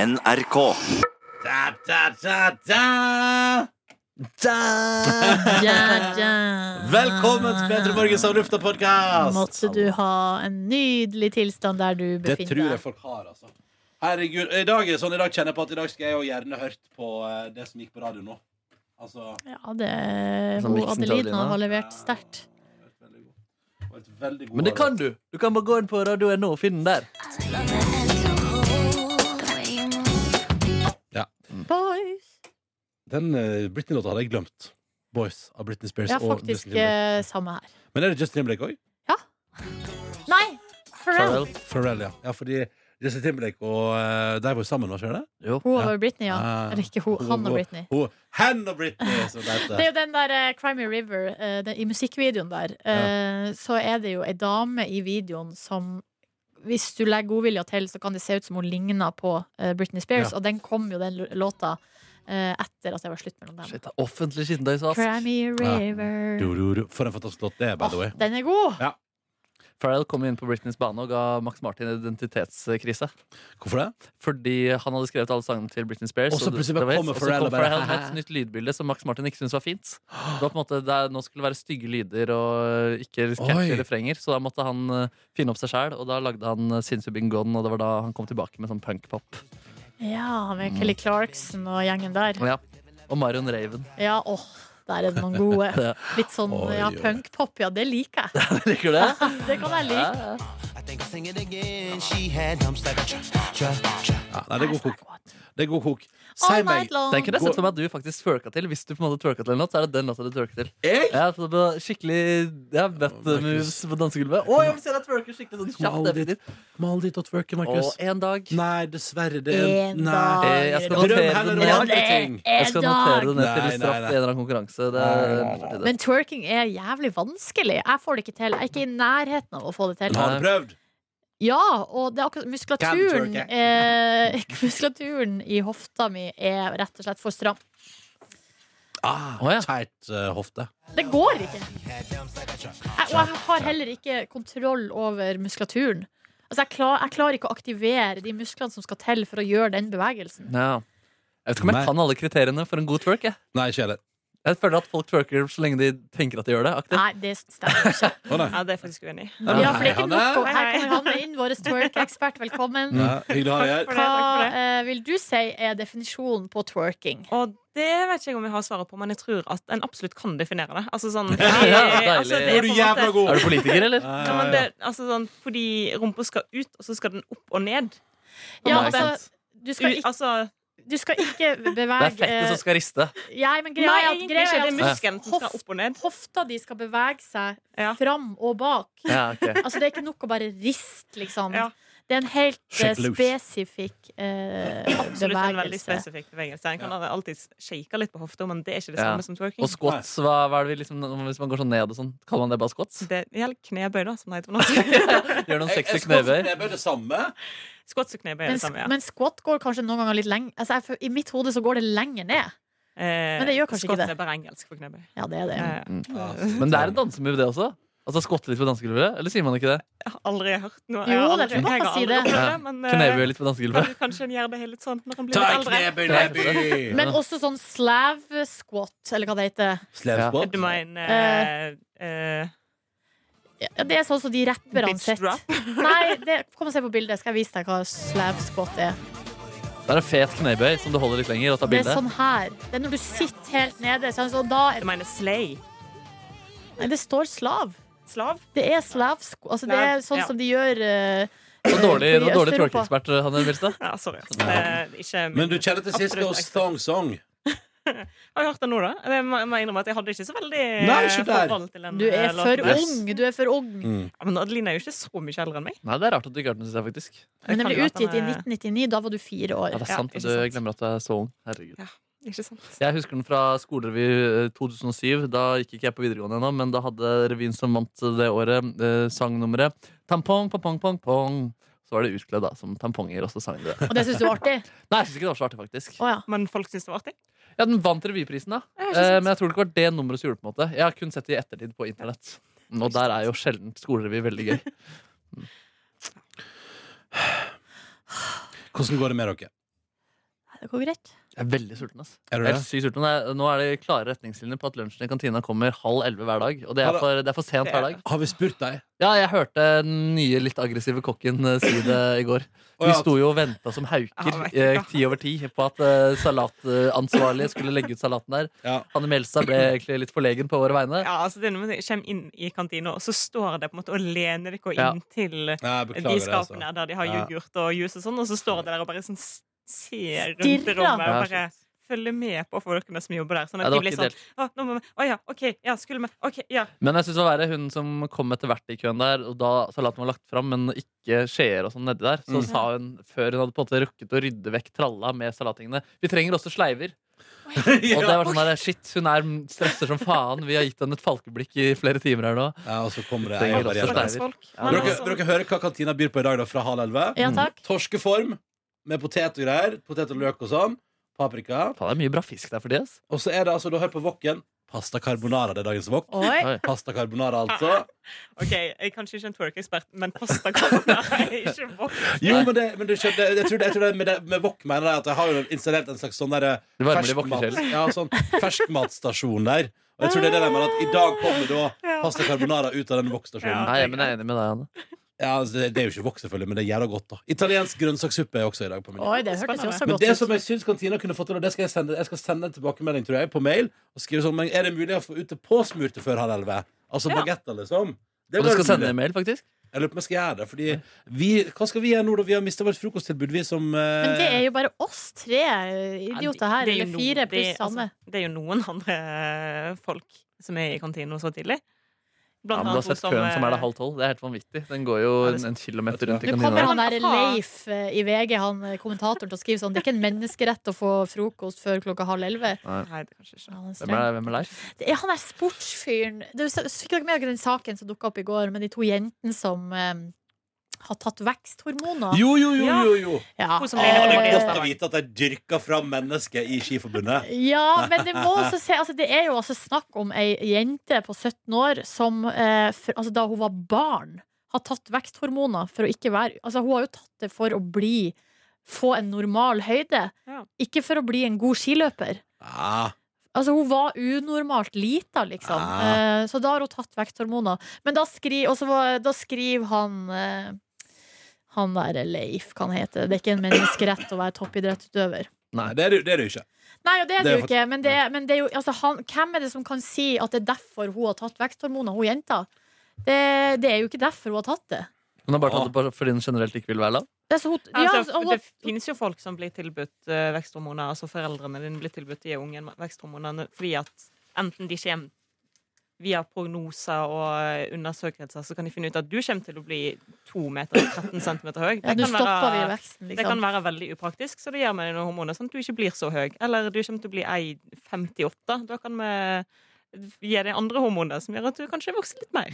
NRK. Da, da, da, da. Ja, ja. Velkommen til Petra Morgens av lufta-podkast! Måtte du ha en nydelig tilstand der du Det befinner tror jeg deg. folk har, altså. Herregud, i dag, er sånn, I dag kjenner jeg på at i dag skal jeg jo gjerne hørt på eh, det som gikk på radio nå. Altså Ja, det, Som hun, miksen til Adelina Adelina. har levert sterkt. vært veldig god. Det har vært veldig god Men det radio. kan du. Du kan bare gå inn på radioen nå og finne den der. Mm. Boys! Den eh, Britney-låta hadde jeg glemt. Boys av Britney Spears. Ja, og faktisk Justin Timberlake. eh, samme her. Men er det Justin Timberlake òg? Nei! Pharrell. Farvel. Pharrell, ja. ja. Fordi Justin Timberlake og eh, de var jo sammen, var ikke det? Jo. Hun over Britney, ja. Ah. Eller ikke hun, han og Britney. Hun, han og Britney, som det Det er heter. jo den der eh, Crimey River eh, den, I musikkvideoen der eh, Så er det jo ei dame i videoen som Hvis du legger godvilja til Så kan det se ut som hun ligner på eh, Britney Spears Ja. Og den kom jo den l- låta eh, Etter at det var slutt mellom dem Shit, det er offentlig skittentøysask. Crimey River Du, du, du. For en fantastisk låt det er, by the way. Åh, Den er god! Farrell kom inn på Britneys bane og ga Max Martin en identitetskrise. Hvorfor det? Fordi han hadde skrevet alle sangene til Britney Spears. Og så det- plutselig det var bare hits, kommer og så Pharrell kom og bare, Pharrell med et nytt lydbilde som Max Martin ikke syntes var fint. Det var på en måte, det er, nå skulle det være stygge lyder og eh, ikke Oi. catchy refrenger, så da måtte han eh, finne opp seg sjæl. Og da lagde han eh, Since You've Been Gone, og det var da han kom tilbake med sånn punkpop. Ja, med Kelly Clarkson og gjengen der Ja. Og Marion Raven. Ja, åh, der er det noen gode Ja. Litt sånn, Oi, ja, oi. punk-pop Ja, det liker jeg Liker du det? Det kan jeg like Ja, ja. Ja, nei, det er god kok. Det er god kok. Si All meg night long Den kunne jeg sett for meg at du faktisk twerka til. Hvis du på en måte twerka til en låt, så er det den låta du twerker til. Jeg? Ja, for det var skikkelig Jeg har bedt Markus. moves på dansegulvet. Å, jeg vil se deg twerke skikkelig sånn Kom kjapt. aldri definitivt. dit. Kom aldri dit å twerke, Markus. Og en dag Nei, dessverre. Det er En Nei. dag Eh, jeg skal Drøm notere heller det om ned. andre ting. Jeg skal notere det ned Nei, til nei, straff nei. i en eller annen konkurranse. Det er på tide. Men twerking er jævlig vanskelig. Jeg får det ikke til. Jeg er ikke i nærheten av å få det til. Men Har du prøvd? Ja, og det er akkurat muskulaturen Kan eh, Muskulaturen i hofta mi er rett og slett for stram. Ah, Å, ja. Teit eh, hofte. Det går ikke. Jeg, og jeg har heller ikke kontroll over muskulaturen. Altså, jeg, klar, jeg klarer ikke å aktivere de musklene som skal til for å gjøre den bevegelsen. Ja. Jeg vet ikke om Nei. jeg kan alle kriteriene for en god twerk. Jeg, Nei, ikke heller. jeg føler at folk twerker så lenge de tenker at de gjør det. aktivt. Nei, det stemmer ikke. Å, nei. Ja, det er jeg faktisk uenig. i. Ja, for det er ikke Hanne. nok. å- Her kommer Hanne inn, vår twerk-ekspert. Velkommen. Ja, Mm. hyggelig å ha deg her. Takk for det. Hva eh, vil du si er definisjonen på twerking? Og det vet ikke jeg om jeg har svaret på, men jeg tror at en absolutt kan definere det. Altså sånn Ja, deilig. altså, Er det er du på en jævla måte god? Er du politiker, eller? Ja, ja, ja, men det, ja. altså sånn, Fordi rumpa skal ut, og så skal den opp og ned. Ja, Nei, altså, sant. du U, skal ikke, altså, du skal ikke Det bevege er fettet som skal riste. ja, men nei, greia er at, egentlig greia ikke. Det er er muskelen som skal opp og ned. at hofta di skal bevege seg Ja. fram og bak. Ja, ok. Altså, det er ikke nok å bare riste, liksom. Ja. Det er en helt eh, Shake loose. spesifikk eh, Absolutt en veldig bevegelse. spesifikk bevegelse. En kan alltid shake litt på hofta, men det er ikke det Ja. samme som twerking. Og squats, hva, hva er det vi liksom Hvis man går sånn ned og sånn, kaller man det bare squats? Det gjelder knebøy, da, som det heter på norsk. Gjør Er- noen er sexy skotsk knebøy? knebøy det samme? Squats og knebøy er Men, det samme. ja. men squat går kanskje noen ganger litt lenger altså, jeg, føl- I mitt hode så går det lenger ned. Eh, men det gjør kanskje ikke squats det. er bare engelsk for knebøy. Ja, det er det. Eh, Ah, Men det er en dansemove, det også? Altså skotte litt på dansegulvet? Eller sier man ikke det? Jeg har aldri hørt noe. Jo, jeg har det tror aldri, jeg man jeg kan har si aldri det. opplevd Ja. men, eh, Knebøy litt på dansegulvet? Kan- Kanskje en gjør det helt sånn når han blir Ta litt et eldre. knebøy, Nebby! Men også sånn slave squat, eller hva det heter. Ja. Slevspott? Du mener eh, eh, Ja, det er sånn som de rapperne Bitch sitter. drop? Nei, det, kom og se på bildet. Skal jeg vise deg hva slave squat er. Det er en fet knebøy som du holder litt lenger og tar Det er bilde. sånn her. Det er når du sitter helt nede. Sånn, så da Du er, mener slay? nei, det står slav. Slav? Det er slav squat. Altså, det er Slav, sånn ja. som de gjør eh, Det var dårlig, det var i dårlig Østeuropa. twerkeekspert, Hanne Milstad. Ja, sorry. altså. Det er ikke min- Men du kjenner til siste Absolutt års ekte. Thong Song? Har jeg hørt det nå, da? Jeg må jeg må innrømme at jeg hadde ikke så veldig eh, Nei, ikke der. forhold til den Du eh, er låten for der. ung. Du er for ung. Ja, Men Adeline er jo ikke så mye eldre enn meg. Nei, det er rart at du ikke har hørt den, synes jeg faktisk. Men den kan ble jo at utgitt i den er- 1999. Da var du fire Ja, år. det er Ja, sant, ikke at du sant. glemmer at du er så ung. Herregud. Ikke sant? Jeg husker den fra skolerevy eh, 2007. Da gikk ikke jeg på videregående ennå, men da hadde revyen som vant det året, eh, sangnummeret Tampong, pong, pong, pong. Så var det utkledd da, som tamponger, og så sang de det. Og det syns du var artig? Nei, jeg synes ikke det var så artig, faktisk. Å ja. Men folk syns det var artig? Ja, Den vant revyprisen, da. Ja, ikke sant. Eh, men jeg tror det ikke var det nummeret som gjorde det. på en måte Jeg har kun sett det i ettertid på internett. Og der er jo sjelden skolerevy veldig gøy. Hvordan går det med dere? Det går greit. Jeg er veldig sulten. ass Er Jeg er sykt sulten. Jeg- Nå er det klare retningslinjer på at lunsjen i kantina kommer halv elleve hver dag. Og det er for, det er for sent hver dag. Har vi spurt deg? Ja, jeg hørte den nye litt aggressive kokken eh, si det i går. Å, ja, Vi sto jo og venta som Ah, hauker eh, ti over ti på at eh, salatansvarlig skulle legge ut salaten der. Ja. Hanne Melstad ble egentlig litt forlegen på våre vegne. Ja, altså det er noe med at jeg kommer inn i kantina, og så står det på en måte og lener dere Ja. inn til eh, Nei, jeg de beklager det, altså. skapene her der de har Ja. yoghurt og juice og sånn, og så står det der og bare sånn s- ser rundt i Stirrer. rommet Ja, og bare følger med på folkene som jobber der. Sånn Ja, at det de var blir ikke sånn Å, nå må vi Å ja, OK, ja, skulle vi OK, ja. Men jeg synes det var verre hun som kom etter hvert i køen der, og da salaten var lagt fram, men ikke skjeer og sånn nedi der, så Mm. sa hun, før hun hadde på en måte rukket å rydde vekk tralla med salatingene, vi trenger også sleiver. Og det ja. var sånn der, shit, hun er stresser som faen, vi har gitt henne et falkeblikk i flere timer her nå. ja, og så kommer det en Trenger også variant. sleiver. Stakkars folk. Ja, Men det Dere, altså, dere hører hva kantina byr på i dag da, fra halv elleve. Ja, takk. Torskeform med potet og greier. Potet og løk og sånn. Paprika. Faen, det er mye bra fisk der for de, ass. Og så er det altså, du hører på wokken Pasta carbonara, det er dagens wok. Oi. Oi. Pasta carbonara, altså. OK, jeg er kanskje ikke en twerk-ekspert, men pasta kan jeg ikke våkne. Jo, men, det, men du skjønner, jeg tror, det- jeg tror det er med, det, med wok mener jeg at jeg har jo installert en slags sånn derre Du varmer de vokker selv. ja, sånn ferskmatstasjon der. Og jeg tror det er det de mener, at i dag kommer da pasta carbonara ut av den wokstasjonen. Nei, men jeg er enig med deg, Anne. Ja, altså, det, det er jo ikke wok, selvfølgelig, men det er jævla godt, da. Italiensk grønnsakssuppe er også i dag på menyen. Oi, det hørtes jo også Men godt det som ut. jeg syns kantina kunne fått til, og det skal jeg sende, jeg skal sende en tilbakemelding tror jeg, på mail og skrive sånn men Er det mulig å få ut det påsmurte før halv elleve? Altså Ja. bagetter, liksom. Det Og du var skal mulig. sende en mail, faktisk? Jeg lurer på om jeg skal gjøre det. Fordi vi, hva skal vi gjøre nå, da? Vi har mista vårt frokosttilbud, vi som eh, Men det er jo bare oss tre idioter her, Det er jo eller noen- fire det- pluss Anne. altså, Det er jo noen andre eh, folk som er i kantina så tidlig. Ja, Blant men du har hun sett køen som er der eh, halv tolv. Det er helt vanvittig. Den går jo Ja, det er en, en kilometer rundt i Nå kantina. kommer der. han der Men faen. Leif eh, i VG, han eh, kommentatoren, til å skrive sånn Det er ikke en menneskerett å få frokost før klokka halv elleve. Nei, det er kanskje ikke. Ja, han er Hvem streng. er, hvem er Leif? Det er han der sportsfyren du, så- så Fikk dere med dere den saken som dukka opp i går, med de to jentene som eh, har tatt veksthormoner? Jo, jo, jo, Ja. jo. jo. Ja. Hun som Ah, det er Eh. godt å vite at de dyrker fram mennesket i Skiforbundet. Ja, men det må også se altså, Det er jo altså snakk om ei jente på 17 år som eh, for, altså, da hun var barn, har tatt veksthormoner for å ikke være Altså, hun har jo tatt det for å bli Få en normal høyde, Ja. ikke for å bli en god skiløper. Ah, Altså, hun var unormalt lita, liksom. Ah. Eh, så da har hun tatt veksthormoner. Men da, skri, og så var- da skriver han eh, Han der Leif, hva han heter. Det er ikke en menneskerett å være toppidrettsutøver. nei, det er det, jo- det er det jo ikke. Nei, og det er det, Det er jo ikke. Men, det, men det er jo, altså, han, hvem er det som kan si at det er derfor hun har tatt veksthormoner, hun jenta? Det, det er jo ikke derfor hun har tatt det. Hun har bare tatt det bare fordi hun generelt ikke vil være lav. det er så hun, ja, Altså, altså, hun, det finnes jo folk som blir tilbudt eh, veksthormoner. Altså Foreldrene dine blir tilbudt de ungen veksthormonene fordi at enten de kommer via prognoser og eh, undersøkelser, så kan de finne ut at du kommer til å bli 2 meter og 13 cm høy. ja, Det Nå kan stopper vi være- veksten, det kan liksom. være veldig upraktisk, så det gjør vi noen hormoner sånn at du ikke blir så høy. Eller du kommer til å bli ei 58. Da kan vi gi deg andre hormoner som gjør at du kanskje vokser litt mer.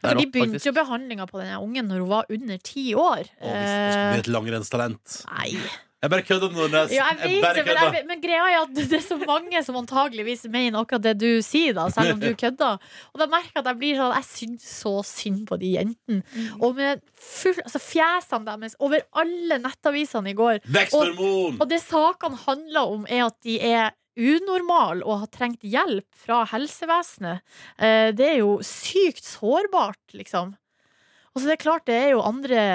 For de rått, begynte faktisk. jo behandlinga på denne ungen når hun var under ti år. Å, hvis det skulle bli Eh, et langrennstalent. Nei. Jeg bare kødder, Nordnes. Ja, jeg vet bare det, men, jeg, kødder. vet- men greia er at det er så mange som antageligvis mener akkurat det du sier, da, selv om du kødder. Og da merker jeg at jeg blir sånn Jeg syns så synd på de jentene. Og med full, altså fjesene deres over alle nettavisene i går. Veksthormon! Og det sakene handler om, er at de er unormale og har trengt hjelp fra helsevesenet. Eh, Det er jo sykt sårbart, liksom. Og så det er klart det er jo andre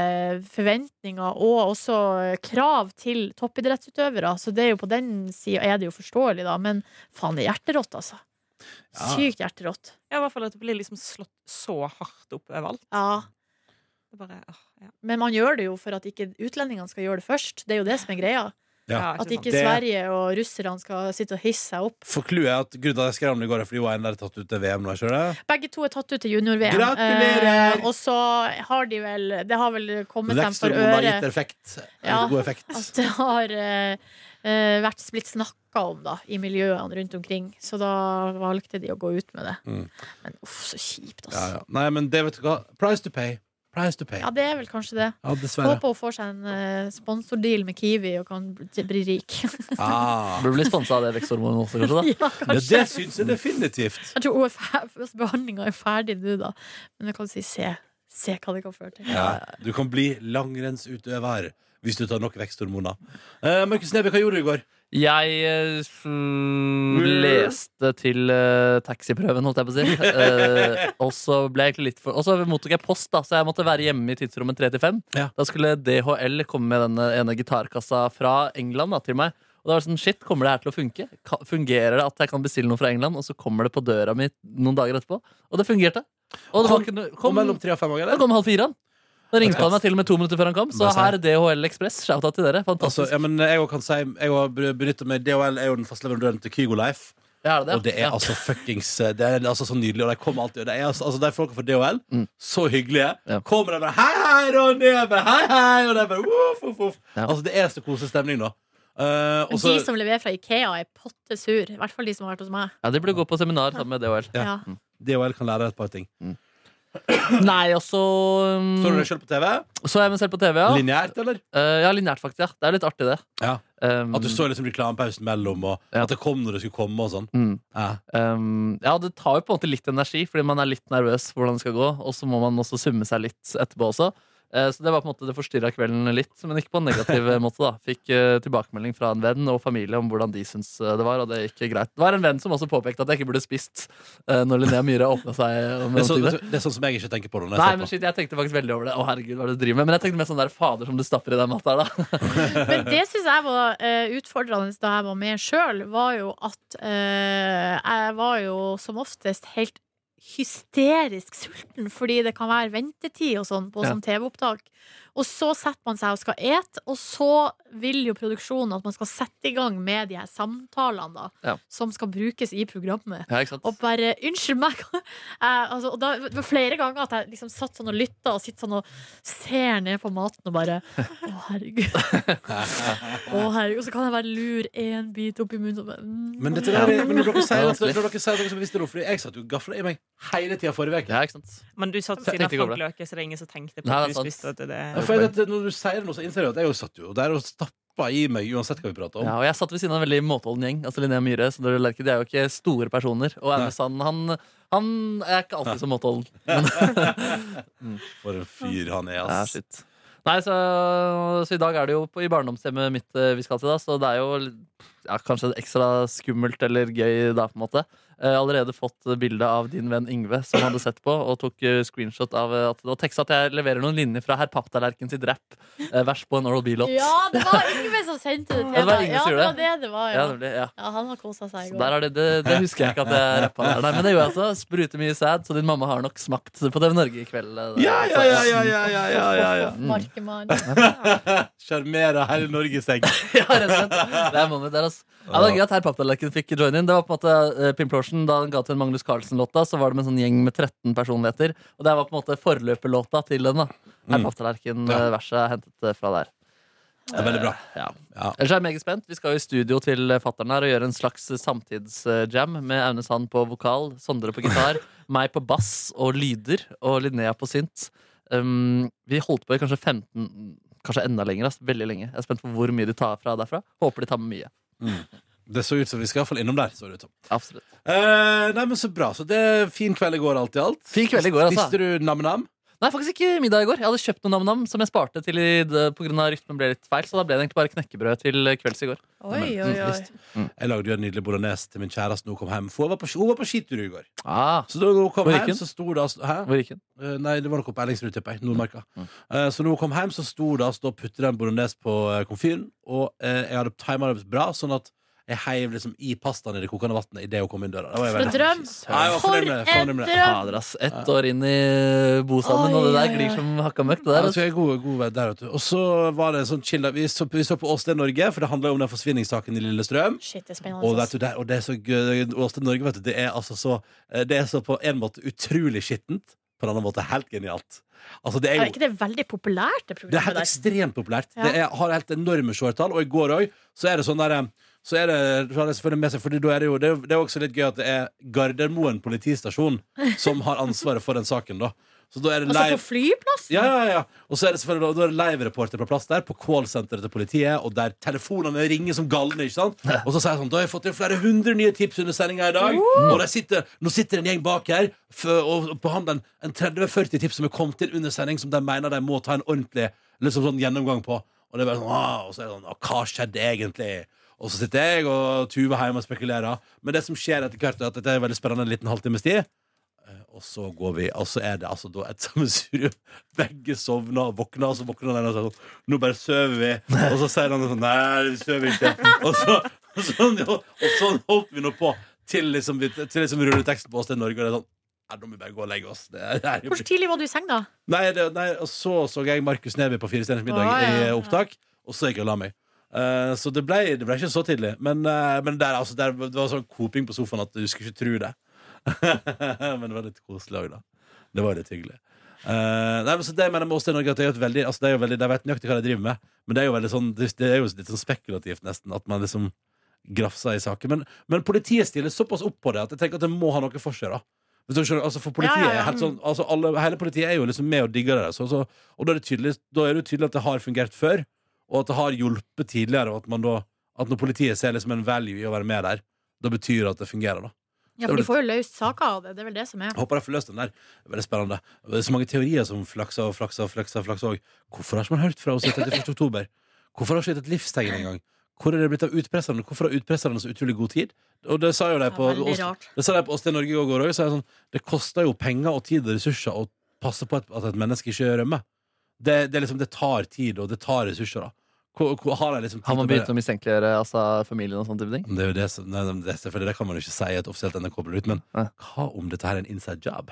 forventninger og også krav til toppidrettsutøvere, så det er jo på den sida er det jo forståelig, da. Men faen, det er hjerterått, altså. Ja. Sykt hjerterått. Ja, i hvert fall at det blir liksom slått så hardt opp overalt. Ja. Det er bare, åh, ja. Men man gjør det jo for at ikke utlendingene skal gjøre det først. Det er jo det som er greia. Ja, Ja, At ikke ikke sant. Det- Sverige og russerne skal sitte og hisse seg opp. For clouet er at grunnen til at jeg skrev om det i går, er fordi hun ene er tatt ut til VM nå, ikke det? Begge to er tatt ut til junior-VM. Gratulerer! Eh, og så har de vel Det har vel kommet dem for Veksthormon har gitt øre effekt. Ja. God effekt. at det har eh, eh, vært blitt snakka om da, i miljøene rundt omkring. Så da valgte de å gå ut med det. Mm. Men uff, så kjipt, altså. Ja, Ja, ja. Nei, men det vet du hva. Price to pay. Price to pay. det er vel kanskje det. Ja, dessverre. Håper hun får seg en eh, sponsordeal med Kiwi og kan bli bli rik. Ah. Burde bli sponsa av det veksthormonet også, kanskje. da ja, Ja, kanskje. det syns jeg definitivt. Jeg tror hun er fer- behandlinga er ferdig nå, da. Men jeg kan si se. Se hva det kan føre til. Du kan bli langrennsutøver. hvis du tar nok veksthormoner. Eh, Markus Neby, hva gjorde du i går? Jeg eh, s- leste til eh, taxiprøven, holdt jeg på å si. Eh, og så ble jeg egentlig litt for Og så mottok jeg post, da, så jeg måtte være hjemme i tidsrommet 3 til 5. Ja. Da skulle DHL komme med denne ene gitarkassa fra England da, til meg. Og da var det sånn, shit, Kommer det her til å funke? Ka- Fungerer det at jeg kan bestille noe fra England? Og så kommer det på døra mi noen dager etterpå. Og det fungerte. Og det Kom- var ikke noe, Kom kom, mellom tre og fem òg, det eller? kom halv fire. han. Da ringte han meg til og med to minutter før han kom. Så Bare si. her, DHL Ekspress, shout-out til dere. Altså, Fantastisk. ja, men jeg òg kan si Jeg òg benytter meg DHL er jo den faste leverandøren til Kygo Life. Ja, er det det? Og det er Ja. altså fuckings Det er altså så nydelig, og de kommer alltid. og Det er altså, altså De folka fra DHL, Mm. så hyggelige. Ja. Kommer de bare Hei, hei, Ronny! Jeg bare, Hei, hei! Og de bare uff, uff, uff. Ja. Altså, det er så koselig stemning, da. Eh, og Men så- de som leverer fra Ikea, er pottesur. I hvert fall de som har vært hos meg. Ja, De burde gå på seminar sammen med DHL. Ja. Ja. DHL kan lære deg et par ting. Nei, også um, Så du deg sjøl på TV? Så jeg meg selv på TV, ja. Lineært, eller? Eh, ja, lineært, faktisk. ja Det er litt artig, det. Ja. Um, At du så liksom reklamepausen mellom, og Ja. at det kom når det skulle komme, og sånn. mm, Ja. um, Ja, det tar jo på en måte litt energi, fordi man er litt nervøs for hvordan det skal gå. Og så må man også summe seg litt etterpå også. Eh, så det var på en måte det forstyrra kvelden litt, men ikke på en negativ måte. da Fikk eh, tilbakemelding fra en venn og familie om hvordan de syns eh, det var, og det gikk greit. Det var en venn som også påpekte at jeg ikke burde spist eh, når Linnea Myhre åpna seg. om Det, er så, noen ting der. det, er så- det er sånn som jeg ikke tenker på det. Når jeg Nei, ser men på. shit, jeg tenkte faktisk veldig over det. Å, herregud, hva er det du driver med? Men jeg tenkte mer sånn der fader som du stapper i den matta her, da. Men det syns jeg var eh, utfordrende da jeg var med sjøl, var jo at eh, jeg var jo som oftest helt hysterisk sulten, fordi det kan være ventetid og sånn på Ja. sånn TV-opptak. Og så setter man seg og skal et, og så vil jo produksjonen at man skal sette i gang med de her samtalene da, Ja. som skal brukes i programmet. Ja, ikke sant? Og bare 'unnskyld meg'. Jeg, altså, og da, det var flere ganger at jeg liksom satt sånn og lytta og sitter sånn og ser ned på maten og bare 'Å, herregud'. Å, herregud. Og så kan jeg bare lure én bit opp i munnen og bare mm, Men, dette der, er- men når dere sier Ja, at vanskelig. når dere sier at dere skal bevise det, fordi jeg satt jo gafla i meg hele tida forrige uke. Ja, ikke sant? Sånn. Men du satt Jeg ved siden av tenkte ikke over Frank Løke, så det er ingen som tenkte på Nei, at det du er sant. spiste at det. Ja, for jeg, vet, når du sier det nå, så innser jeg at jeg jo satt jo der og stappa i meg uansett hva vi prata om. Ja, og jeg satt ved siden av en veldig måteholden gjeng. Altså Linnea Myhre, så dere lerker, de er jo ikke store personer. Og Nei. Aune Sand, han, han er ikke alltid så måteholden. For en fyr han er, Ja, ass. shit. Nei, så, så i dag er det jo på, i barndomshjemmet mitt eh, vi skal til, da, så det er jo ja, kanskje ekstra skummelt eller gøy da, på en måte. Eh, allerede fått eh, bilde av din venn Yngve, som hadde sett på, og tok eh, screenshot av eh, at det var tekst at jeg leverer noen linjer fra herr Papptallerken sitt rap, eh, vers på en Oral B-låt. Ja, det var Yngve som sendte det Ja, til det var meg. Yngve Ja, som det gjorde var det det var, ja. Ja, nemlig, ja. ja han har kosa seg i Så går. der er det, det, det husker jeg ikke at jeg rappa der, nei, men det gjør jeg altså. Spruter mye sæd, så din mamma har nok smakt på TV Norge i kveld. eh, der. Ja, ja, ja, ja, ja, ja, ja, ja, ja. Markemann. Sjarmerer hele Norge i seng. Ja, rett og slett. Det er moment der, altså. Ja, det var gøy at herr Papptallerken fikk join in. Det var på en måte eh, Pimplorsen, Da han ga til en Magnus Carlsen-låta, så var det med en sånn gjeng med 13 personligheter. Og det var på en måte forløperlåta til den. da Herr Mm. Papptallerken-verset er hentet eh, fra der. Det er veldig bra. Ja. Ja. Ellers er jeg meget spent. Vi skal jo i studio til fattern her og gjøre en slags samtidsjam med Aune Sand på vokal, Sondre på gitar, meg på bass og lyder og Linnea på synt. Um, vi holdt på i kanskje 15 Kanskje enda lenger. ass. Veldig lenge. Jeg er spent på hvor mye de tar fra derfra. Håper de tar med mye. Det så ut som vi skal iallfall innom der. Så det ut som. Absolutt. Eh, nei, men Så bra. Så det er fin kveld i går, alt i alt. Fin kveld i går, altså. Visste du nam-nam? Nei, faktisk ikke middag i går. Jeg hadde kjøpt noe nam-nam som jeg sparte til i det- på grunn av rytmen ble litt feil, så da ble det egentlig bare knekkebrød til kvelds i går. Oi, oi, oi. Jeg lagde jo en nydelig bolognese til min kjæreste når hun kom hjem. For hun var på, hun var på skitur i går. Ah, Så da hun kom Hvor gikk hjem, hun? så sto det altså Hæ? hvor gikk den? Eh, Nei, det var noe på Ellingsrud, tipper jeg. Nordmarka. Mm. Eh, så når hun kom hjem, så sto det altså da putter jeg en bolognese på eh, komfyren, og eh, jeg hadde timet det bra, sånn at jeg heiv liksom i pastaen i det kokende vannet idet hun kom inn døra. Det var jeg For en veldig- drøm! Ja, jeg var For fornøyd med det, fornøyd en med det. drøm! Fader, ass. Ett år inn i bostaden, og det der glir som hakka møkk. Det der, Ja, ass. så jeg er god, god vei der, vet du. Og så var det en sånn chill Vi så, vi så på Åsted Norge, for det handla jo om den forsvinningssaken i Lillestrøm. Shit, det er spennende. altså. Og, vet ass. du, det, og det er så gøy Åsted Norge, vet du, det er altså så eh, Det er så på en måte utrolig skittent, på en annen måte helt genialt. Altså, det er Er jo ikke det veldig populært, Det er det programmet helt der? ekstremt populært. Ja. Det er, har helt enorme seertall. Og i går òg, så er det sånn der eh, så er det, så har det selvfølgelig med seg, fordi da er det, jo, det, er jo- det er jo også litt gøy at det er Gardermoen politistasjon som har ansvaret for den saken. da Så da er det Altså på live flyplassen? ja, ja, ja. Og så er det selvfølgelig da er det live-reporter på plass der, på callsenteret til politiet, og der telefonene ringer som galne. ikke sant? Og så sier jeg sånn, da har jeg fått inn flere hundre nye tips under sendinga i dag. Og der sitter, nå sitter en gjeng bak her for, og behandler en, en 30-40 tips som er kommet inn under sending, som de mener de må ta en ordentlig liksom sånn gjennomgang på. Og det er bare sånn, «Åh», og så er det sånn «Åh, Hva skjedde egentlig? Og så sitter jeg og Tuve hjemme og spekulerer. Men det som skjer etter hvert, er at dette er veldig spennende en liten halvtimes tid. Eh, Og så går vi, og så er det altså da et sammensurium. Begge sovner og våkner, og så våkner den ene og sier sånn Nå bare sover vi. Og så sier han sånn Nei, vi sover ikke. Og så, og sånn, og, og sånn holdt vi nå på til liksom, vi- til liksom rulleteksten på oss til Norge. Og det er sånn Nei, nå må vi bare gå og legge oss. Det er, det er, Hvor tidlig var du i seng, da? Nei, det, nei, og så så jeg Markus Neby på Firestjerners middag Å, ja, i eh, ja. opptak, og så gikk jeg og la meg. Eh, så det ble, det ble ikke så tidlig. Men, eh, men der, altså, der, det var sånn koping på sofaen at du skulle ikke tro det. men det var litt koselig òg, da. Det var litt hyggelig. Eh, nei, men så det mener jeg med oss i Norge at det er jo et veldig, altså, det er jo veldig, De vet nøyaktig hva de driver med, men det er jo, veldig sånn, det det er jo litt sånn spekulativt, nesten, at man liksom grafser i saker. Men, men politiet stiller såpass opp på det at jeg tenker at det må ha noe for seg. da Hvis du skjønner, altså For politiet Ja, ja, er ja. helt sånn altså alle, Hele politiet er jo liksom med og digger det. der, Så, så, og da er, det tydelig, da er det jo tydelig at det har fungert før, og at det har hjulpet tidligere. Og at, man da, at når politiet ser liksom en value i å være med der, da betyr det at det fungerer. da Det var Ja, for litt- du får jo løst saker av det. Det er vel det som er. jeg Håper jeg får løst den der. Det er Veldig spennende. Det er så mange teorier som flakser og flakser og flakser. og flakser også. Hvorfor har ikke man hørt fra oss etter 31. oktober? Hvorfor har ikke vi gitt et livstegn engang? Hvor er det blitt av utpresserne? Hvorfor har utpresserne så utrolig god tid? Og det sa jo de Ja, på veldig oss- rart. det sa de på oss til Norge i går òg. Sånn, det koster jo penger og tid og ressurser å passe på at, at et menneske ikke rømmer. Det, det, er liksom, det tar tid, og det tar ressurser, da. Hvor, hvor har de liksom tid Har man til å begynt å mistenkeliggjøre altså, familien og sånne type ting? det er jo det som, nei, det, er selvfølgelig, det kan man jo ikke si i et offisielt NRK-produkt, men Nei. hva om dette her er en inside job?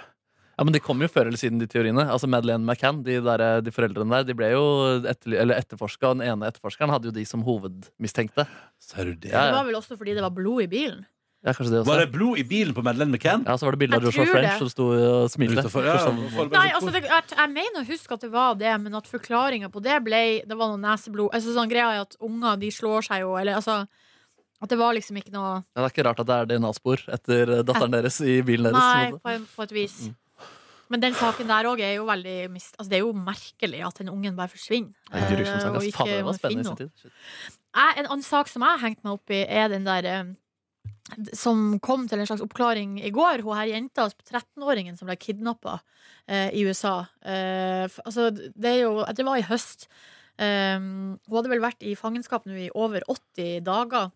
Ja, men De kom jo før eller siden, de teoriene. Altså Madeleine McCann, de, der, de foreldrene der, de ble jo etterly- eller etterforska. Den ene etterforskeren hadde jo de som hovedmistenkte. Ser du det? Ja, Det var vel også fordi det var blod i bilen. Ja, kanskje det Var også. det blod i bilen på Madeleine McCann? Ja, Så var det bilde av Jeg Joshua tror French det. som sto og smilte. Utenfor, ja, For sånn- folk bare Nei, så- altså, det, jeg, jeg mener å huske at det var det, men at forklaringa på det ble Det var noe neseblod. Altså, sånn greia er at unger, de slår seg jo, eller altså At det var liksom ikke noe Ja, det er ikke rart at det er DNA-spor etter eh, datteren deres i bilen deres. Nei, på, en, på et vis. Mm. Men den saken der òg er jo veldig mist... Altså, det er jo merkelig at den ungen bare forsvinner. Det er grusomt, eh, stakkars. og ikke Fader, det var man finner noe. spennende liksom. i sin tid. Shit. jeg, En annen sak som jeg har hengt meg opp i Er den der eh, d- Som kom til en slags oppklaring i går Hun her jenta, altså 13-åringen som ble kidnappet eh, I USA eh, f- Altså det er jo Det var i høst Eh, Hun hadde vel vært i fangenskap nå i over 80 dager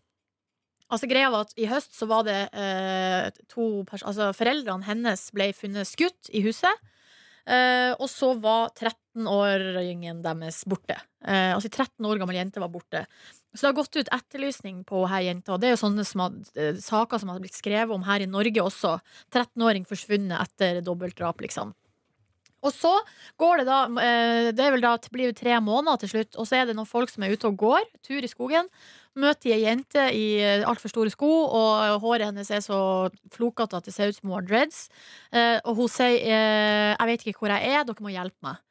Altså greia var at i høst så var det eh, to pers Altså foreldrene hennes ble funnet skutt i huset Eh, og så var 13-åringen deres borte. Eh, altså 13 år gammel jente var borte. Så det har gått ut etterlysning på her jenta. Og det er jo sånne som har, eh, saker som har blitt skrevet om her i Norge også. 13-åring forsvunnet etter dobbeltdrap, liksom. Og så går det da eh, Det er vel da, det blir jo tre måneder til slutt, og så er det noen folk som er ute og går, tur i skogen. Møter ei jente i altfor store sko, og eh, håret hennes er så flokete at det ser ut som hun har dreads. Eh, og hun sier eh, 'Jeg vet ikke hvor jeg er, dere må hjelpe meg'.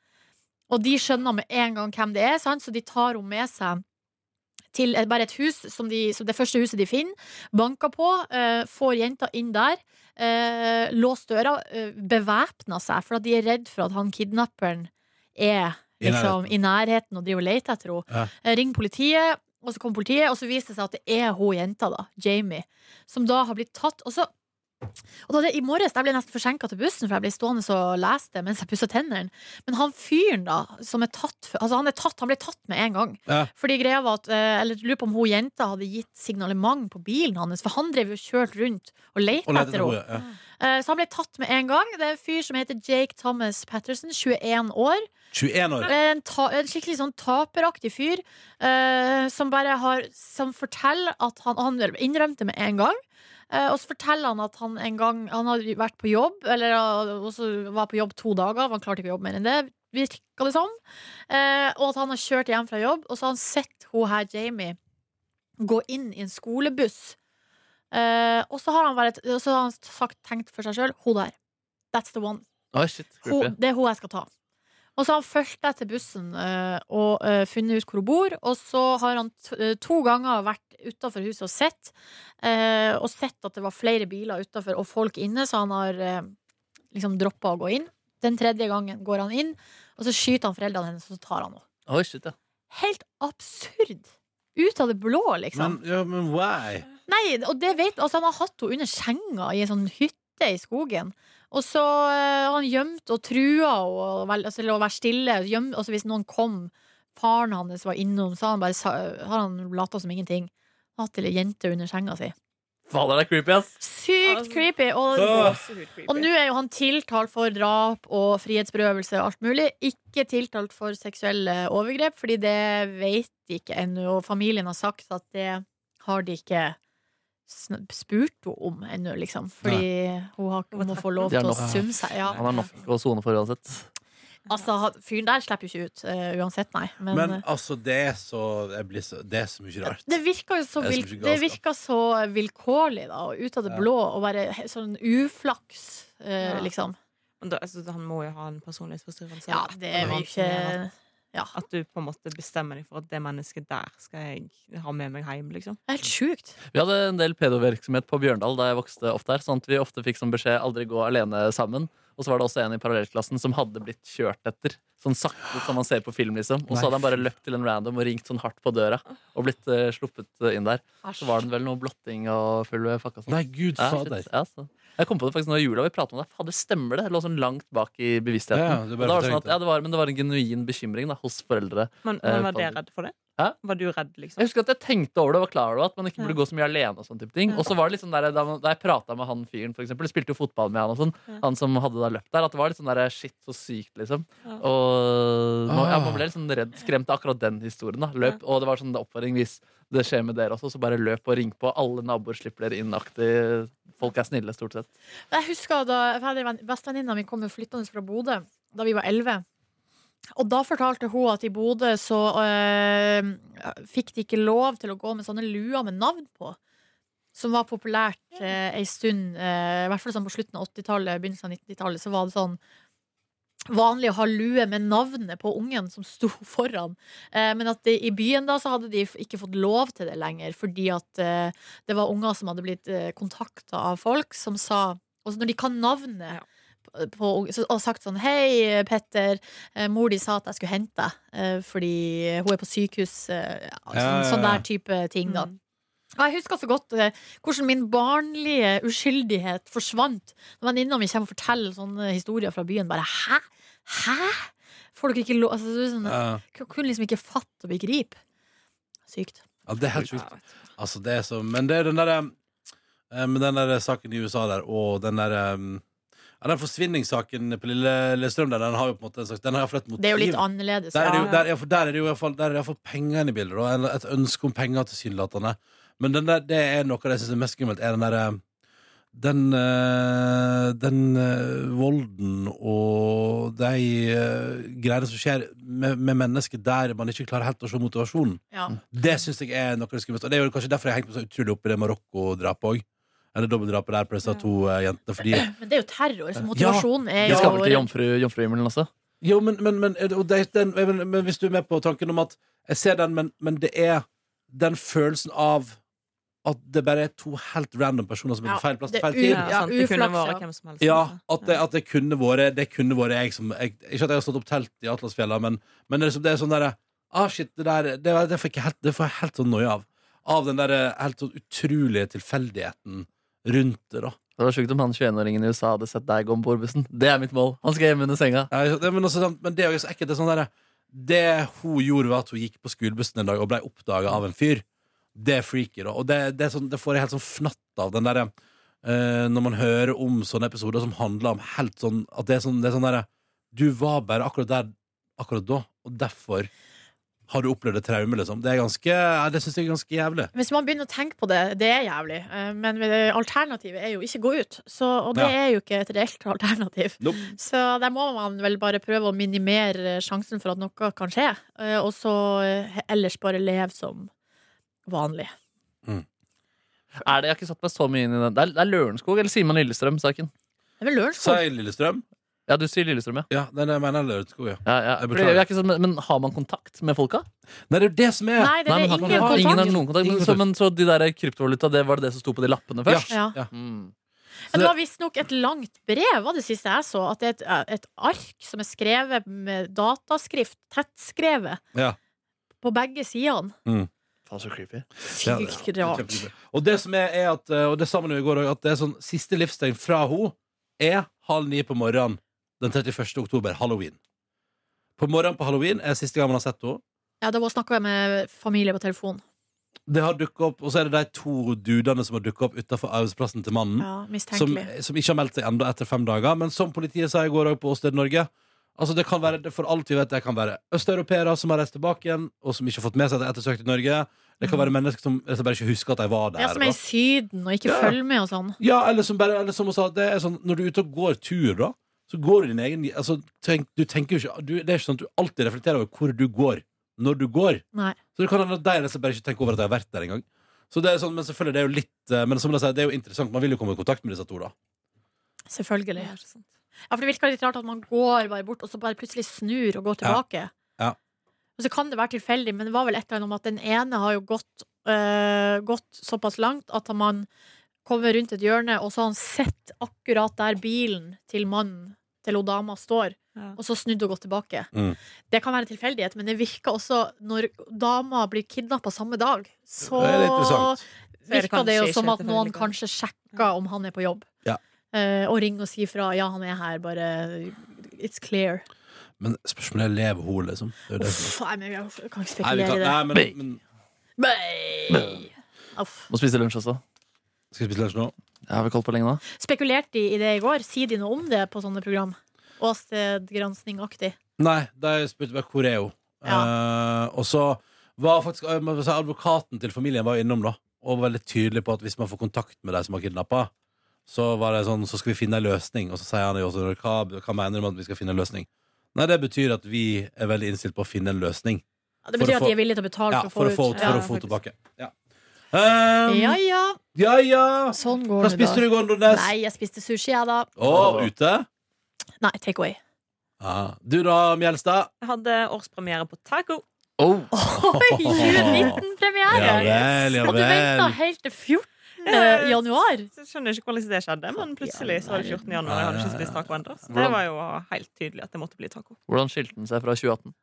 Og de skjønner med en gang hvem det er, sant? så de tar henne med seg til et, bare et hus, som, de, som det første huset de finner. Banker på, eh, får jenta inn der. Eh, låst døra, eh, bevæpner seg, for at de er redd for at han kidnapperen er I liksom, i nærheten og driver og leter etter henne. Ja. Eh, ringer politiet, og så kommer politiet, og så viser det seg at det er hun jenta, da, Jamie, som da har blitt tatt. Og så og da det, I morges jeg ble jeg nesten forsinka til bussen, for jeg ble stående og lese det mens jeg pussa tennene. Men han fyren, da, som er tatt for- Altså, han, er tatt, han ble tatt med en gang. Ja. Fordi greia var at eh, Eller jeg lurer på om hun jenta hadde gitt signalement på bilen hans, for han drev jo og kjørte rundt og lette Og leter etter etter henne. henne, ja. Eh, Så han ble tatt med en gang. Det er en fyr som heter Jake Thomas Patterson, 21 år. 21 år. Eh, En, ta, en skikkelig sånn taperaktig fyr eh, som bare har Som forteller at han Han innrømte med en gang. eh, og så forteller han at han en gang Han hadde vært på jobb, eller eh, og så var på jobb to dager. for Han klarte ikke å jobbe mer enn det, virka det som. Eh, og at han har kjørt hjem fra jobb, og så har han sett hun her, Jamie, gå inn i en skolebuss. Eh, og så har han, bare, og så har han sagt, tenkt for seg sjøl Hun der. That's the one Oi, shit, creepy. hun, det er hun jeg skal ta. Og så har han fulgt etter bussen eh, og eh, funnet ut hvor hun bor. Og så har han t eh, to ganger vært utafor huset og sett, eh, og sett at det var flere biler utafor og folk inne, så han har eh, liksom droppa å gå inn. Den tredje gangen går han inn, og så skyter han foreldrene hennes, og så tar han henne. Oi, shit, ja. Helt absurd! Ut av det blå, liksom. Men, ja, men why? Nei, og det vet altså, Han har hatt henne under senga i en sånn hytte i skogen. Og så eh, har han gjemt og trua henne og vel- altså, til å være stille. Gjem, altså, hvis noen kom faren hans var innom, så har han bare sa- har han lata som ingenting. Hatt ei jente under senga si. Fader, det er creepy, ass. Sykt Altså. creepy! Og, Åh. og nå er jo han tiltalt for drap og frihetsberøvelse og alt mulig. Ikke tiltalt for seksuelle overgrep, fordi det vet de ikke ennå. Og familien har sagt at det har de ikke sn- spurt henne om ennå, liksom. Fordi hun har, hun må få lov Det er til å nok. summe seg. Ja. Han har nok å sone for uansett. Altså, han- fyren der slipper jo ikke ut eh, uansett, nei. Men, Men eh, altså, det er så, jeg blir så Det er så mye rart. det virka jo så, Det er vil, så mye det galskap. virka så vilkårlig, da. Og ut av det Ja. blå, og bare he- sånn uflaks, eh, Ja. liksom. Men da, altså, han må jo ha en personlighetsforstyrrelse. Ja, det er jo ikke Ja. At du på en måte bestemmer deg for at det mennesket der skal jeg ha med meg hjem, liksom. Det er helt sjukt. Vi hadde en del pedovirksomhet på Bjørndal da jeg vokste opp der. Sånn at vi ofte fikk som beskjed aldri gå alene sammen. Og så var det også en i parallellklassen som hadde blitt kjørt etter. Sånn sakte som man ser på film, liksom. Og så hadde han bare løpt til en random og ringt sånn hardt på døra. Og blitt eh, sluppet eh, inn der. Så var det vel noe blotting og full fakka sånn. Nei, gud Ja, fader. shit. Ja, så. Jeg kom på det faktisk nå i jula, vi pratet om det. Fader, stemmer det? Det lå sånn langt bak i bevisstheten. Ja, det det, bare var det sånn fortrengte. at, ja, det var, men det var en genuin bekymring da, hos foreldre. Men, Eh, men var fader. dere redd for det? Hæ? Var du redd, liksom? Jeg husker at jeg tenkte over det, var klar over det, at man ikke burde gå Ja. så mye alene. Og sånn type ting Ja. Og så var det litt sånn der, da, man- da jeg prata med han fyren, for eksempel, jeg spilte jo fotball med han, og sånn Ja. han som hadde da løpt der, at det var litt sånn der, shit, så sykt, liksom. Ja. Og man, ja, Ah. man ble litt sånn redd, skremt av akkurat den historien. da Løp, Og det var sånn oppfordring hvis det skjer med dere også, så bare løp og ring på. Alle naboer slipper dere inn-aktig. Folk er snille, stort sett. Jeg husker da jeg hadde en venn- Bestevenninna mi kom jo flyttende fra Bodø da vi var 11. Og da fortalte hun at i Bodø så eh, fikk de ikke lov til å gå med sånne luer med navn på. Som var populært eh, ei stund, eh, i hvert fall sånn på slutten av 80-tallet, begynnelsen av 90-tallet, så var det sånn vanlig å ha lue med navnet på ungen som sto foran. Eh, men at det, i byen da så hadde de f- ikke fått lov til det lenger, fordi at eh, det var unger som hadde blitt kontakta av folk som sa Og så når de kan navnet Ja. på, på, unge- så- og sagt sånn Hei, Petter. eh, Mor di sa at jeg skulle hente deg eh, fordi hun er på sykehus. eh, ja, Sånn, Ja, ja, ja. sånn der type ting, da. Og jeg husker så godt eh, hvordan min barnlige uskyldighet forsvant. Når venninna mi kommer og forteller sånne historier fra byen. Bare hæ? Hæ? Får dere ikke lov altså, det er sånn, Ja, jeg Kunne liksom ikke fatte og begripe. Sykt. Ja, det er helt sjukt. Altså, det er så Men det er den derre eh, Men den der saken i USA der, og den derre ja, Den forsvinningssaken på Lille Lillestrøm der, den har jo på en måte en slags Den har iallfall et motiv. Det er jo litt annerledes. Der er det jo, ja. der, ja, for der er det jo i hvert fall- der er det iallfall penger inne i bildet. Da. eller Et ønske om penger, tilsynelatende. Men den der, det er noe av det jeg syns er mest skummelt, er den derre den, eh, den eh, volden og de eh, greiene som skjer med, med mennesker der man ikke klarer helt å se motivasjonen. Ja. Det syns jeg er noe av det skumleste. Og det er jo kanskje derfor jeg hengte meg så utrolig opp i det Marokko-drapet òg. Eller dobbeltdrapet der på disse to eh, jentene. Fordi Men det er jo terror, så Ja. motivasjonen er De jo skal vel til jomfru, jomfruhimmelen også? Jo, men, men, men, og det, den, men, men hvis du er med på tanken om at Jeg ser den, men, men det er den følelsen av at det bare er to helt random personer som er Ja, på feil plass det til feil u- tid. Ja, Ja, sant. Det kunne uflaks, ja. vært hvem som helst. Ja, altså. at det, at det kunne vært Det kunne vært jeg som jeg, Ikke at jeg har stått opp telt i Atlasfjella, men, men det, er som- det er sånn derre Ah, shit, det der Det, det får jeg helt, det får jeg helt sånn noia av. Av den derre helt sånn utrolige tilfeldigheten rundt det, da. Det var sjukt om han 21-åringen i USA hadde sett deg gå om bord bussen. Det er mitt mål. Han skal hjem under senga. Ja, ikke sant? Ja, men, også, sant, men det er jo så ekkelt. Det, er sånn der, det hun gjorde, var at hun gikk på skolebussen en dag og ble oppdaga av en fyr. Det er freaky, da. Og det, det, er sånn, det får jeg helt sånn fnatt av. Den derre eh, Når man hører om sånne episoder som handler om helt sånn At det er sånn, det er sånn derre Du var bare akkurat der akkurat da, og derfor har du opplevd et traume, liksom. Det, er ganske, ja, det syns jeg er ganske jævlig. Hvis man begynner å tenke på det, det er jævlig. Eh, Men alternativet er jo ikke gå ut. Så, og det Ja. er jo ikke et reelt alternativ. Så der må man vel bare prøve å minimere sjansen for at noe kan skje. eh, Og så eh, ellers bare leve som vanlig. Er det, jeg har ikke satt meg så mye inn i den. Det er, det er Lørenskog eller Simon Lillestrøm-saken. Det er vel Si Lørenskog? Lillestrøm. Ja, du sier Lillestrøm, ja. Ja, den jeg mener Lørenskog, ja. ja, ja. Jeg Fordi, beklager. jeg er ikke sånn, men, men har man kontakt med folka? Nei, det er jo det som er Nei, det Nei, er men har- ingen har- ingen har kontakt. noen kontakt. Men Ingen så, men så de der kryptovaluta, det var det det som sto på de lappene Ja, først? ja. Ja. Mm. Ja, Det var visstnok et langt brev, var det siste jeg så. At det er et, et ark som er skrevet med dataskrift, tettskrevet, Ja. på begge sidene. Faen, så creepy. Ja, det- Sykt rart. Kjempebra. Og det som er, er at eh, Og det sa man jo i går òg, at det er sånn siste livstegn fra henne er halv ni på morgenen den 31. oktober, halloween. På morgenen på halloween er siste gang man har sett henne. Ja, da snakka jeg med familie på telefon. Det har dukket opp, Og så er det de to dudene som har dukket opp utenfor arbeidsplassen til mannen. Ja, Mm. som, eh, Mistenkelig. som ikke har meldt seg ennå etter fem dager. Men som politiet sa i går også på Åsted Norge Altså det kan være, det- For alt vi vet, det kan være østeuropeere som har reist tilbake igjen, og som ikke har fått med seg at de er ettersøkt i Norge. Det kan være mennesker som, som bare ikke husker at de var der. Mhm. Ja, som er i da. Syden og ikke Ja. følger med og sånn. Ja, eller som bare eller som hun sa, det er sånn, Når du er ute og går tur, da, så går du din egen altså, tenk, Du tenker jo ikke du, Det er ikke sånn at du alltid reflekterer over hvor du går, når du går. Nei. Så det kan hende at de nesten bare ikke tenker over at de har vært der engang. Så det er sånn, men selvfølgelig, det er jo litt eh, Men som jeg sier, det er jo interessant. Man vil jo komme i kontakt med disse to, da. Selvfølgelig. Ja, for det virker litt rart at man går bare bort, og så bare plutselig snur og går Ja. tilbake. Ja. Og så kan det være tilfeldig, men det var vel et eller annet om at den ene har jo gått, øh, gått såpass langt at man kommer rundt et hjørne, og så har han sett akkurat der bilen til mannen til hun dama står, Ja. og så snudd og gått tilbake. Mm. Det kan være en tilfeldighet, men det virker også når dama blir kidnappa samme dag, så Det er litt interessant. Så er det virker det jo kanskje som ikke at noen tilfeldig. kanskje sjekker om han er på jobb. Ja. Eh, og ringer og sier fra 'ja, han er her', bare It's clear. Men spørsmålet er lever hun, liksom. Det er jo det som- Uff, nei, men jeg kan ikke Nei, vi spekulere kan, i det. nei, men, men Nei. Uff. Må spise lunsj også. Skal vi spise lunsj nå? Jeg har vel kalt på lenge nå. Spekulerte de i det i går? Sier de noe om det på sånne program? Åstedgransking-aktig. Nei, de spurte bare hvor er hun. Eh, og så var faktisk eh, man må si, advokaten til familien var innom, da. Og var veldig tydelig på at hvis man får kontakt med de som har kidnappa, så var det sånn, så skal vi finne en løsning. Og så sier han jo også hva, hva mener du med at vi skal finne en løsning? Nei, det betyr at vi er veldig innstilt på å finne en løsning. Ja, det For å betyr at få- de er villige til å betale Ja, for å få, ut. for ja. å få tilbake. Ja. ja Um, ja, ja ja! sånn går Hva det. spiste du i går, da. Nordnes? Nei, jeg spiste sushi, jeg, da. Å, ute? Nei, take away. Ja. Du da, Mjelstad? Jeg hadde årspremiere på taco. Oh. Oi, U19-premiere! Ja vel, ja Og du venta vel. helt til 14. januar? Så jeg skjønner ikke hvordan det skjedde, men plutselig så var det 14. januar. og Jeg hadde ikke spist taco ennå. Så det var jo helt tydelig at det måtte bli taco. Hvordan skilte den seg fra 2018?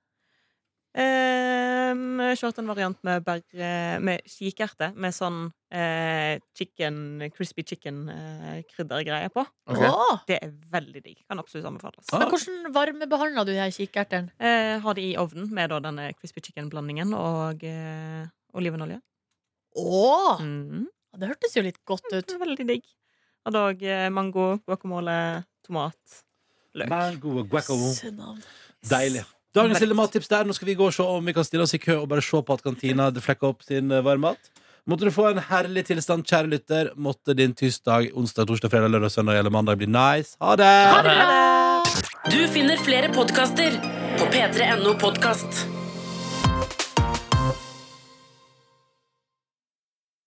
Um, kjørte en variant med, berg- eh, med kikerte med sånn eh, chicken, crispy chicken-kryddergreier på. Ok. Åh. Det er veldig digg. Kan absolutt anbefales. Ah. Men hvordan varmebehandla du de her kikertene? Eh, har det i ovnen med da denne crispy chicken-blandingen og eh, olivenolje. Åh, Mm. Det hørtes jo litt godt ut. Veldig digg. Hadde òg eh, mango, guacamole, tomat, løk. Mango og guacamole. Sunnam. Deilig. Dagens lille mattips der. Nå skal vi gå og se om vi kan stille oss i kø og bare se på at kantina flekker opp sin eh, varmmat. Måtte du få en herlig tilstand, kjære lytter. Måtte din tirsdag, onsdag, torsdag, fredag, lørdag, søndag eller mandag bli nice. Ha det! Ha det bra! Du finner flere podkaster på p3.no podkast.